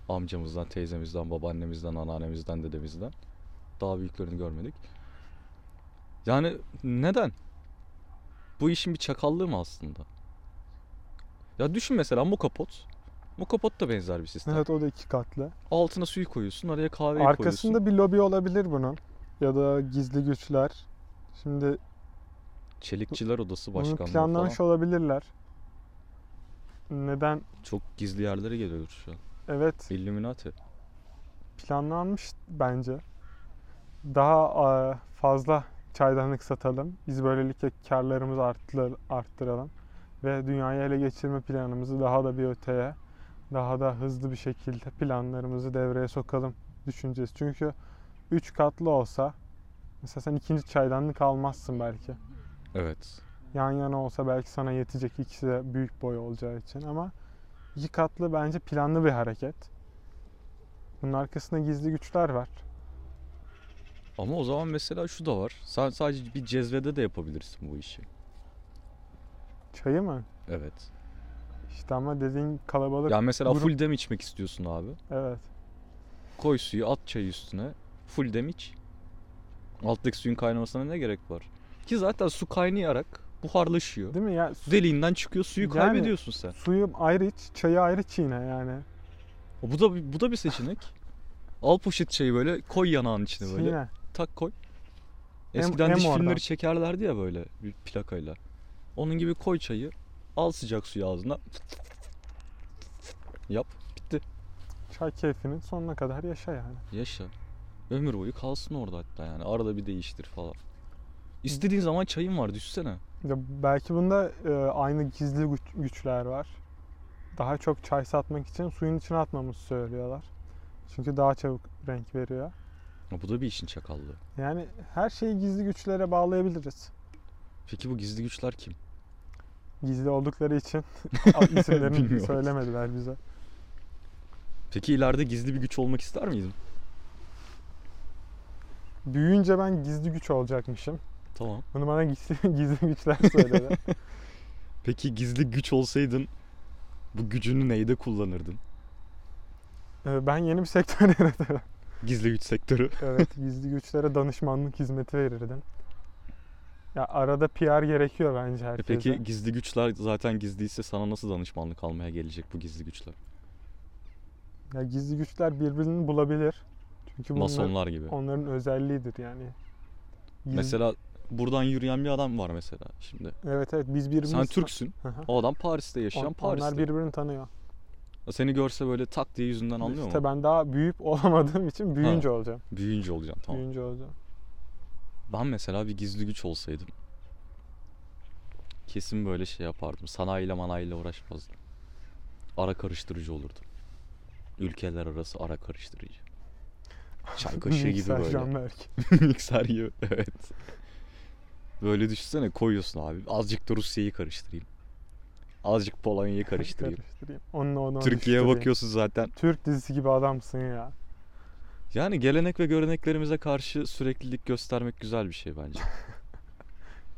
[SPEAKER 2] amcamızdan, teyzemizden, babaannemizden, anneannemizden, dedemizden. Daha büyüklerini görmedik. Yani neden? Bu işin bir çakallığı mı aslında? Ya düşün mesela bu kapot Mokopot da benzer bir sistem.
[SPEAKER 1] Evet o da iki katlı.
[SPEAKER 2] Altına suyu koyuyorsun, araya kahveyi koyuyorsun.
[SPEAKER 1] Arkasında bir lobi olabilir bunun. Ya da gizli güçler. Şimdi
[SPEAKER 2] Çelikçiler Odası
[SPEAKER 1] bunu
[SPEAKER 2] Başkanlığı
[SPEAKER 1] planlamış
[SPEAKER 2] falan.
[SPEAKER 1] olabilirler. Neden?
[SPEAKER 2] Çok gizli yerlere geliyoruz şu an.
[SPEAKER 1] Evet
[SPEAKER 2] Illuminati.
[SPEAKER 1] planlanmış bence. Daha e, fazla çaydanlık satalım. Biz böylelikle karlarımızı arttır- arttıralım. Ve dünyayı ele geçirme planımızı daha da bir öteye, daha da hızlı bir şekilde planlarımızı devreye sokalım düşüncesi. Çünkü 3 katlı olsa, mesela sen ikinci çaydanlık almazsın belki.
[SPEAKER 2] Evet.
[SPEAKER 1] Yan yana olsa belki sana yetecek ikisi de büyük boy olacağı için ama iki katlı bence planlı bir hareket. Bunun arkasında gizli güçler var.
[SPEAKER 2] Ama o zaman mesela şu da var. Sen sadece bir cezvede de yapabilirsin bu işi.
[SPEAKER 1] Çayı mı?
[SPEAKER 2] Evet.
[SPEAKER 1] İşte ama dediğin kalabalık.
[SPEAKER 2] Ya mesela
[SPEAKER 1] grup-
[SPEAKER 2] full dem içmek istiyorsun abi.
[SPEAKER 1] Evet.
[SPEAKER 2] Koy suyu, at çayı üstüne. Full dem iç. Alttaki suyun kaynamasına ne gerek var? Ki zaten su kaynayarak buharlaşıyor.
[SPEAKER 1] Değil mi ya? Su-
[SPEAKER 2] Deliğinden çıkıyor, suyu
[SPEAKER 1] Yani-
[SPEAKER 2] kaybediyorsun sen.
[SPEAKER 1] suyu ayrı iç, çayı ayrı çiğne yani.
[SPEAKER 2] Bu da bir- bu da bir seçenek. Al poşet çayı böyle koy yanağın içine böyle.
[SPEAKER 1] Çiğne.
[SPEAKER 2] Tak koy.
[SPEAKER 1] Em-
[SPEAKER 2] Eskiden
[SPEAKER 1] em
[SPEAKER 2] diş
[SPEAKER 1] oradan.
[SPEAKER 2] filmleri çekerlerdi ya böyle bir plakayla. Onun gibi koy çayı, al sıcak suyu ağzına. Yap, bitti.
[SPEAKER 1] Çay keyfinin sonuna kadar yaşa yani.
[SPEAKER 2] Yaşa. Ömür boyu kalsın orada hatta yani. Arada bir değiştir falan. İstediğin zaman çayın var düşsene.
[SPEAKER 1] Ya belki bunda e, aynı gizli güç- güçler var. Daha çok çay satmak için suyun içine atmamızı söylüyorlar. Çünkü daha çabuk renk veriyor.
[SPEAKER 2] Ya bu da bir işin çakallığı.
[SPEAKER 1] Yani her şeyi gizli güçlere bağlayabiliriz.
[SPEAKER 2] Peki bu gizli güçler kim?
[SPEAKER 1] Gizli oldukları için isimlerini
[SPEAKER 2] Bilmiyorum.
[SPEAKER 1] söylemediler bize.
[SPEAKER 2] Peki ileride gizli bir güç olmak ister miydin?
[SPEAKER 1] Büyüyünce ben gizli güç olacakmışım.
[SPEAKER 2] Tamam.
[SPEAKER 1] Bunu bana gizli, gizli güçler söyledi.
[SPEAKER 2] Peki gizli güç olsaydın bu gücünü neyde kullanırdın?
[SPEAKER 1] Ee, ben yeni bir sektör yaratırdım.
[SPEAKER 2] Gizli güç sektörü.
[SPEAKER 1] Evet, gizli güçlere danışmanlık hizmeti verirdim. Ya arada PR gerekiyor bence
[SPEAKER 2] E
[SPEAKER 1] herkese.
[SPEAKER 2] peki gizli güçler zaten gizliyse sana nasıl danışmanlık almaya gelecek bu gizli güçler?
[SPEAKER 1] Ya gizli güçler birbirini bulabilir. Çünkü bunlar
[SPEAKER 2] Masonlar gibi.
[SPEAKER 1] onların özelliğidir yani. Gizli-
[SPEAKER 2] Mesela buradan yürüyen bir adam var mesela şimdi.
[SPEAKER 1] evet evet biz birbirimizi
[SPEAKER 2] Sen Türksün.
[SPEAKER 1] Hı hı.
[SPEAKER 2] O adam Paris'te yaşayan
[SPEAKER 1] On-
[SPEAKER 2] Paris'te.
[SPEAKER 1] onlar birbirini tanıyor.
[SPEAKER 2] Seni görse böyle tak diye yüzünden anlıyor
[SPEAKER 1] işte
[SPEAKER 2] mu?
[SPEAKER 1] ben daha büyüyüp olamadığım için büyüyünce olacağım.
[SPEAKER 2] Büyüyünce olacaksın tamam.
[SPEAKER 1] Büyüyünce olacağım.
[SPEAKER 2] Ben mesela bir gizli güç olsaydım kesin böyle şey yapardım. Sanayiyle manayla uğraşmazdım. Ara karıştırıcı olurdum. Ülkeler arası ara karıştırıcı. Çay kaşığı gibi
[SPEAKER 1] Mikser
[SPEAKER 2] böyle.
[SPEAKER 1] Canberk.
[SPEAKER 2] Mikser gibi evet. Böyle düşünsene koyuyorsun abi. Azıcık da Rusya'yı karıştırayım. Azıcık Polonya'yı karıştırayım.
[SPEAKER 1] Karıştırayım. Onunla onu
[SPEAKER 2] Türkiye'ye
[SPEAKER 1] karıştırayım.
[SPEAKER 2] bakıyorsun zaten.
[SPEAKER 1] Türk dizisi gibi adamsın ya.
[SPEAKER 2] Yani gelenek ve göreneklerimize karşı süreklilik göstermek güzel bir şey bence.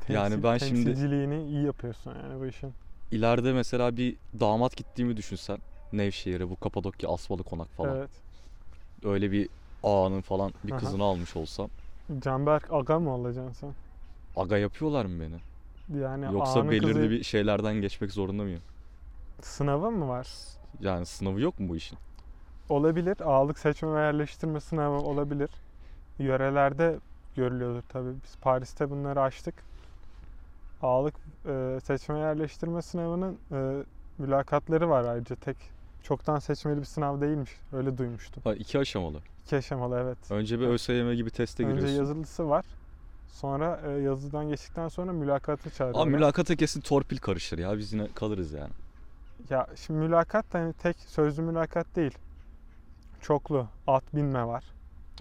[SPEAKER 2] Yani ben şimdi-
[SPEAKER 1] Temsilciliğini iyi yapıyorsun yani bu işin.
[SPEAKER 2] İleride mesela bir damat gittiğimi düşünsen. Nevşehir'e bu Kapadokya Asmalı Konak falan.
[SPEAKER 1] Evet.
[SPEAKER 2] Öyle bir ağanın falan bir
[SPEAKER 1] Aha.
[SPEAKER 2] kızını almış olsam.
[SPEAKER 1] Canberk Aga mı olacaksın
[SPEAKER 2] Aga yapıyorlar mı beni?
[SPEAKER 1] sen? Yani
[SPEAKER 2] Yoksa
[SPEAKER 1] ağanın
[SPEAKER 2] belirli
[SPEAKER 1] kızı-
[SPEAKER 2] bir şeylerden geçmek zorunda mıyım?
[SPEAKER 1] Sınavı mı var?
[SPEAKER 2] Yani sınavı yok mu bu işin?
[SPEAKER 1] Olabilir. Ağalık seçme ve yerleştirme sınavı olabilir. Yörelerde görülüyordur tabii. Biz Paris'te bunları açtık. Ağalık e, seçme ve yerleştirme sınavının e, mülakatları var ayrıca. Tek çoktan seçmeli bir sınav değilmiş. Öyle duymuştum.
[SPEAKER 2] Ha, iki aşamalı.
[SPEAKER 1] İki aşamalı evet.
[SPEAKER 2] Önce bir ÖSYM gibi teste
[SPEAKER 1] Önce
[SPEAKER 2] giriyorsun.
[SPEAKER 1] yazılısı var. Sonra e, yazılıdan geçtikten sonra mülakatı çağırıyorlar.
[SPEAKER 2] Abi mülakata kesin torpil karışır ya biz yine kalırız yani.
[SPEAKER 1] Ya şimdi mülakat da hani tek sözlü mülakat değil. Çoklu. At binme var.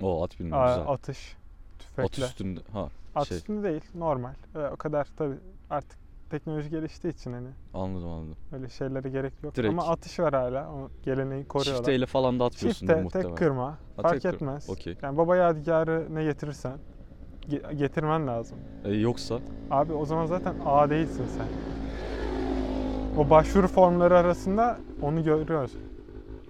[SPEAKER 2] O at bilmiyor
[SPEAKER 1] Aa,
[SPEAKER 2] Hmm, güzel. At,
[SPEAKER 1] Atış. Tüfekle.
[SPEAKER 2] üstünde. Ha
[SPEAKER 1] At
[SPEAKER 2] şey.
[SPEAKER 1] üstünde değil. Normal. E, o kadar tabii artık teknoloji geliştiği için hani
[SPEAKER 2] anladım anladım.
[SPEAKER 1] öyle şeylere gerek yok.
[SPEAKER 2] Direkt.
[SPEAKER 1] Ama atış var hala. O geleneği koruyorlar.
[SPEAKER 2] Çifteyle falan da atmıyorsun
[SPEAKER 1] Çifte,
[SPEAKER 2] muhtemelen.
[SPEAKER 1] tek kırma.
[SPEAKER 2] Ha,
[SPEAKER 1] fark
[SPEAKER 2] tek kır-
[SPEAKER 1] etmez.
[SPEAKER 2] Okey.
[SPEAKER 1] Yani baba yadigarı ne getirirsen ge- getirmen lazım.
[SPEAKER 2] E, yoksa
[SPEAKER 1] Abi o zaman zaten A değilsin sen. O başvuru formları arasında onu görüyoruz.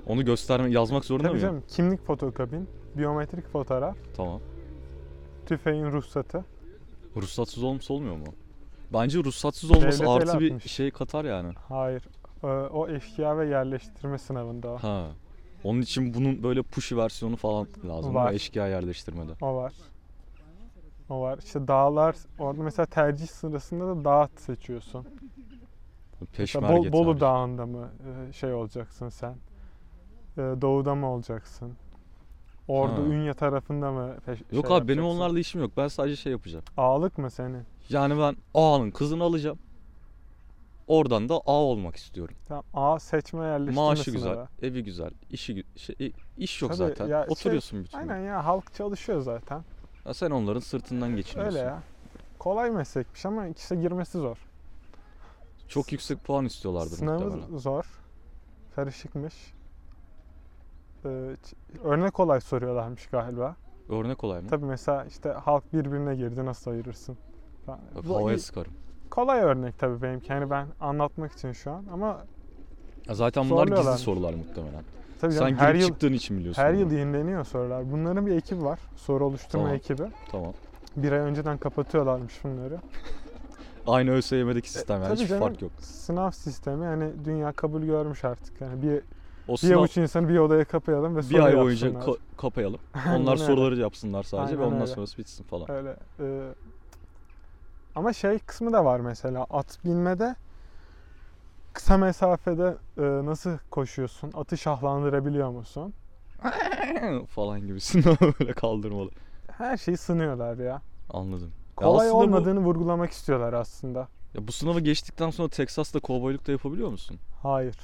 [SPEAKER 2] onu gösterme yazmak zorunda
[SPEAKER 1] Tabii
[SPEAKER 2] mıyım?
[SPEAKER 1] canım kimlik fotokopin, biyometrik fotoğraf,
[SPEAKER 2] Tamam.
[SPEAKER 1] tüfeğin ruhsatı.
[SPEAKER 2] Ruhsatsız olması olmuyor mu? Bence ruhsatsız olması
[SPEAKER 1] Devlet el
[SPEAKER 2] artı bir
[SPEAKER 1] atmış.
[SPEAKER 2] şey katar yani.
[SPEAKER 1] Hayır. e, o eşkıya ve yerleştirme sınavında o.
[SPEAKER 2] Ha. Onun için bunun böyle push versiyonu falan lazım.
[SPEAKER 1] Var.
[SPEAKER 2] Var. Eşkıya yerleştirmede.
[SPEAKER 1] O var. O var. İşte dağlar orada mesela tercih sırasında da dağ seçiyorsun. Mesela Bol,
[SPEAKER 2] Peşmerge
[SPEAKER 1] Bolu
[SPEAKER 2] tarzı.
[SPEAKER 1] Dağı'nda mı e, şey olacaksın sen? E, Doğu'da mı olacaksın? Ordu
[SPEAKER 2] Ha.
[SPEAKER 1] Ünye tarafında mı? peş- şey
[SPEAKER 2] Yok abi benim
[SPEAKER 1] yapacaksın?
[SPEAKER 2] onlarla işim yok. Ben sadece şey yapacağım.
[SPEAKER 1] Ağalık mı senin?
[SPEAKER 2] Yani ben A'nın kızını alacağım. Oradan da A olmak istiyorum.
[SPEAKER 1] Tamam A seçme yerleştirme
[SPEAKER 2] Maaşı
[SPEAKER 1] sınavı.
[SPEAKER 2] güzel, evi güzel, işi gü- şey, iş yok
[SPEAKER 1] Tabii
[SPEAKER 2] zaten.
[SPEAKER 1] ya şey-
[SPEAKER 2] Oturuyorsun bütün gün.
[SPEAKER 1] Aynen ya halk çalışıyor zaten.
[SPEAKER 2] Ya sen onların sırtından geçiniyorsun.
[SPEAKER 1] Öyle ya. Kolay meslekmiş ama işte girmesi zor.
[SPEAKER 2] Çok yüksek puan istiyorlardır
[SPEAKER 1] Sınavı
[SPEAKER 2] muhtemelen.
[SPEAKER 1] zor. Karışıkmış. Ee, ç- örnek olay soruyorlarmış galiba.
[SPEAKER 2] Örnek olay mı?
[SPEAKER 1] Tabii mesela işte halk birbirine girdi nasıl ayırırsın? falan.
[SPEAKER 2] Bak,
[SPEAKER 1] Bu
[SPEAKER 2] havaya
[SPEAKER 1] iyi-
[SPEAKER 2] sıkarım.
[SPEAKER 1] kolay örnek tabii benimki. Yani ben anlatmak için şu an ama
[SPEAKER 2] Ya zaten bunlar gizli
[SPEAKER 1] Zorluyorlarmış.
[SPEAKER 2] sorular muhtemelen.
[SPEAKER 1] tabii
[SPEAKER 2] Sen
[SPEAKER 1] canım,
[SPEAKER 2] girip
[SPEAKER 1] her yıl
[SPEAKER 2] çıktığın için biliyorsun.
[SPEAKER 1] her
[SPEAKER 2] bunları.
[SPEAKER 1] yıl yenileniyor sorular. Bunların bir ekibi var. Soru oluşturma
[SPEAKER 2] Tamam.
[SPEAKER 1] ekibi.
[SPEAKER 2] Tamam.
[SPEAKER 1] Bir ay önceden kapatıyorlarmış bunları.
[SPEAKER 2] Aynı ÖSYM'deki sistem yani
[SPEAKER 1] tabii
[SPEAKER 2] hiçbir
[SPEAKER 1] canım.
[SPEAKER 2] fark yok.
[SPEAKER 1] Sınav sistemi hani dünya kabul görmüş artık. Yani bir
[SPEAKER 2] O
[SPEAKER 1] Bir
[SPEAKER 2] sınav
[SPEAKER 1] avuç insanı bir odaya kapayalım ve soru
[SPEAKER 2] bir ay boyunca
[SPEAKER 1] yapsınlar.
[SPEAKER 2] ka- kapayalım.
[SPEAKER 1] Aynen
[SPEAKER 2] Onlar
[SPEAKER 1] öyle.
[SPEAKER 2] soruları yapsınlar sadece ve
[SPEAKER 1] Aynen
[SPEAKER 2] ondan
[SPEAKER 1] öyle.
[SPEAKER 2] sonrası bitsin falan.
[SPEAKER 1] Öyle. e, ama şey kısmı da var mesela at binmede kısa mesafede e, nasıl koşuyorsun? Atı şahlandırabiliyor musun?
[SPEAKER 2] falan gibisinden böyle kaldırmalı.
[SPEAKER 1] Her şeyi sınıyorlar ya.
[SPEAKER 2] Anladım. Ya
[SPEAKER 1] Kolay
[SPEAKER 2] aslında bu,
[SPEAKER 1] olmadığını vurgulamak istiyorlar aslında.
[SPEAKER 2] ya bu sınavı geçtikten sonra Texas'ta kovboyluk da yapabiliyor musun?
[SPEAKER 1] Hayır.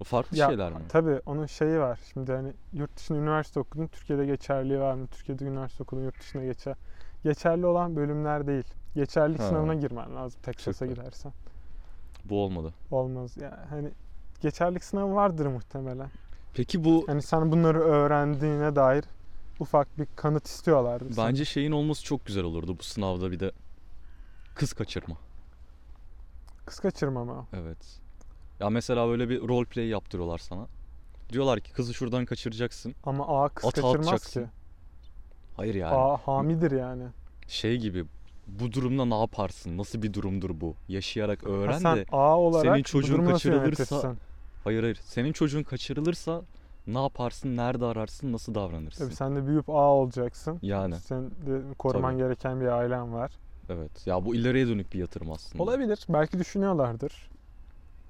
[SPEAKER 2] Bu farklı
[SPEAKER 1] Ya,
[SPEAKER 2] şeyler mi?
[SPEAKER 1] Tabii onun şeyi var. Şimdi hani yurt dışında üniversite okudun, Türkiye'de geçerliği var mı? Türkiye'de üniversite okudun, yurt dışına geçer. Geçerli olan bölümler değil. Geçerlilik
[SPEAKER 2] Ha.
[SPEAKER 1] sınavına girmen lazım Texas'a
[SPEAKER 2] Süper.
[SPEAKER 1] gidersen.
[SPEAKER 2] Bu olmadı.
[SPEAKER 1] Olmaz yani hani geçerlik sınavı vardır muhtemelen.
[SPEAKER 2] Peki bu
[SPEAKER 1] Hani sen bunları öğrendiğine dair ufak bir kanıt istiyorlardı. sana.
[SPEAKER 2] bence şeyin olması çok güzel olurdu bu sınavda bir de kız kaçırma.
[SPEAKER 1] kız kaçırma mı?
[SPEAKER 2] Evet. Ya mesela böyle bir role play yaptırıyorlar sana. Diyorlar ki kızı şuradan kaçıracaksın.
[SPEAKER 1] Ama A kız
[SPEAKER 2] Ata
[SPEAKER 1] kaçırmaz
[SPEAKER 2] atacaksın.
[SPEAKER 1] ki.
[SPEAKER 2] Hayır yani.
[SPEAKER 1] A hamidir yani.
[SPEAKER 2] Şey gibi bu durumda ne yaparsın? Nasıl bir durumdur bu? Yaşayarak
[SPEAKER 1] Ha
[SPEAKER 2] öğren
[SPEAKER 1] sen
[SPEAKER 2] de.
[SPEAKER 1] A olarak
[SPEAKER 2] senin
[SPEAKER 1] bu
[SPEAKER 2] çocuğun
[SPEAKER 1] durumu nasıl
[SPEAKER 2] kaçırılırsa-
[SPEAKER 1] yönetirsin?
[SPEAKER 2] Hayır hayır. Senin çocuğun kaçırılırsa ne yaparsın? Nerede ararsın? Nasıl davranırsın?
[SPEAKER 1] Tabii sen de büyüyüp A olacaksın.
[SPEAKER 2] Yani
[SPEAKER 1] Senin de koruman
[SPEAKER 2] Tabii.
[SPEAKER 1] gereken bir ailen var.
[SPEAKER 2] evet. Ya bu ileriye dönük bir yatırım aslında.
[SPEAKER 1] Olabilir. Belki düşünüyorlardır.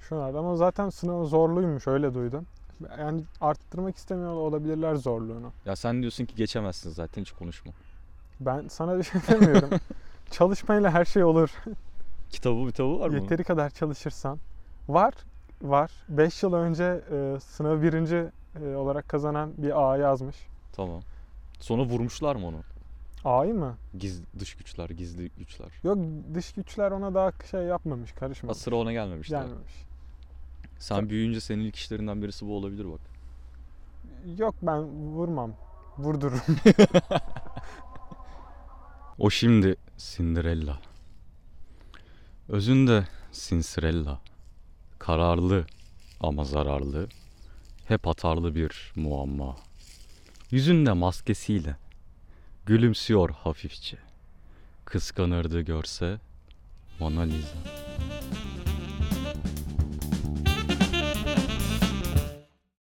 [SPEAKER 1] Şunlar ama zaten sınav zorluymuş öyle duydum. Yani arttırmak istemiyor olabilirler zorluğunu.
[SPEAKER 2] Ya sen diyorsun ki geçemezsin zaten hiç konuşma.
[SPEAKER 1] Ben sana bir şey demiyorum. Çalışmayla her şey olur.
[SPEAKER 2] Kitabı kitabı var mı?
[SPEAKER 1] Yeteri kadar çalışırsan. Var, var. 5 yıl önce e, sınavı birinci e, olarak kazanan bir A yazmış.
[SPEAKER 2] Tamam. Sonra vurmuşlar mı onu?
[SPEAKER 1] A'yı mı?
[SPEAKER 2] Gizli, dış güçler, gizli güçler.
[SPEAKER 1] Yok dış güçler ona daha şey yapmamış,
[SPEAKER 2] Ha,
[SPEAKER 1] karışmamış.
[SPEAKER 2] sıra ona gelmemiş. daha.
[SPEAKER 1] Gelmemiş.
[SPEAKER 2] Sen büyüyünce senin ilk işlerinden birisi bu olabilir bak.
[SPEAKER 1] Yok ben vurmam. Vurdururum.
[SPEAKER 2] O şimdi Cinderella. Özünde Cinderella. Kararlı ama zararlı. Hep atarlı bir muamma. Yüzünde maskesiyle. Gülümsüyor hafifçe. Kıskanırdı görse Mona Lisa.